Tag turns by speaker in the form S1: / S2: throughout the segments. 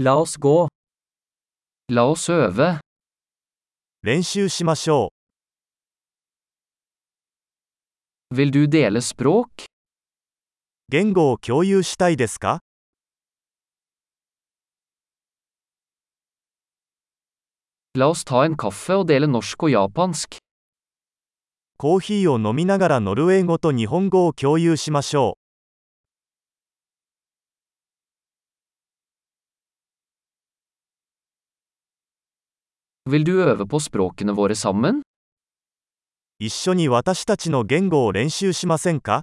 S1: La oss gå. La oss øve.
S2: 練習しましょ
S1: Vil du dele språk?
S2: う。言語を共有したいですか
S1: La oss ta en kaffe og dele norsk og japansk.
S2: コーヒーを飲みながらノルウェー語と日本語を共有しましょ
S1: Vil du øve på språkene våre sammen?
S2: う。一緒に私たちの言語を練習しませんか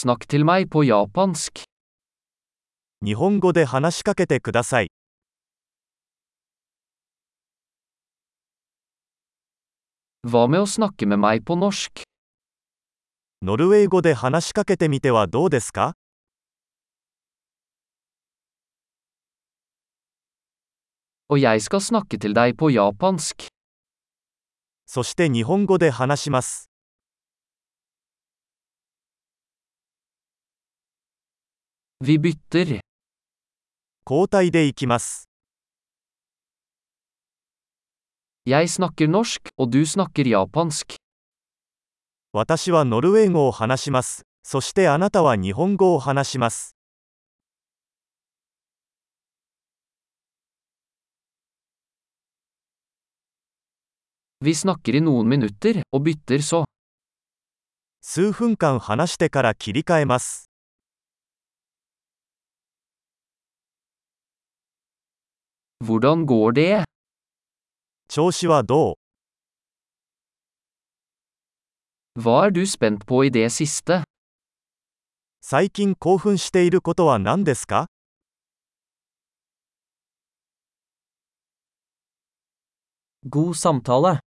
S1: Snakk til meg på japansk.
S2: 日本語で話しかけてください。
S1: Hva med å snakke med meg på norsk?
S2: ノルウェー語で話しかけてみてはどうですか
S1: Og jeg skal snakke til deg på japansk.
S2: そして日本語で話します。
S1: Vi bytter.
S2: 交代でいきます。
S1: Jeg snakker norsk, og du snakker japansk.
S2: 私はノルウェー語を話します。そしてあなたは日本語を話します。
S1: Vi snakker i noen minutter, og bytter så.
S2: 数分間話してから切り替えます。
S1: Hvordan går det?
S2: 調子はどう
S1: Hva er du spent på i det siste?
S2: 最近興奮していることは何ですか
S1: God samtale.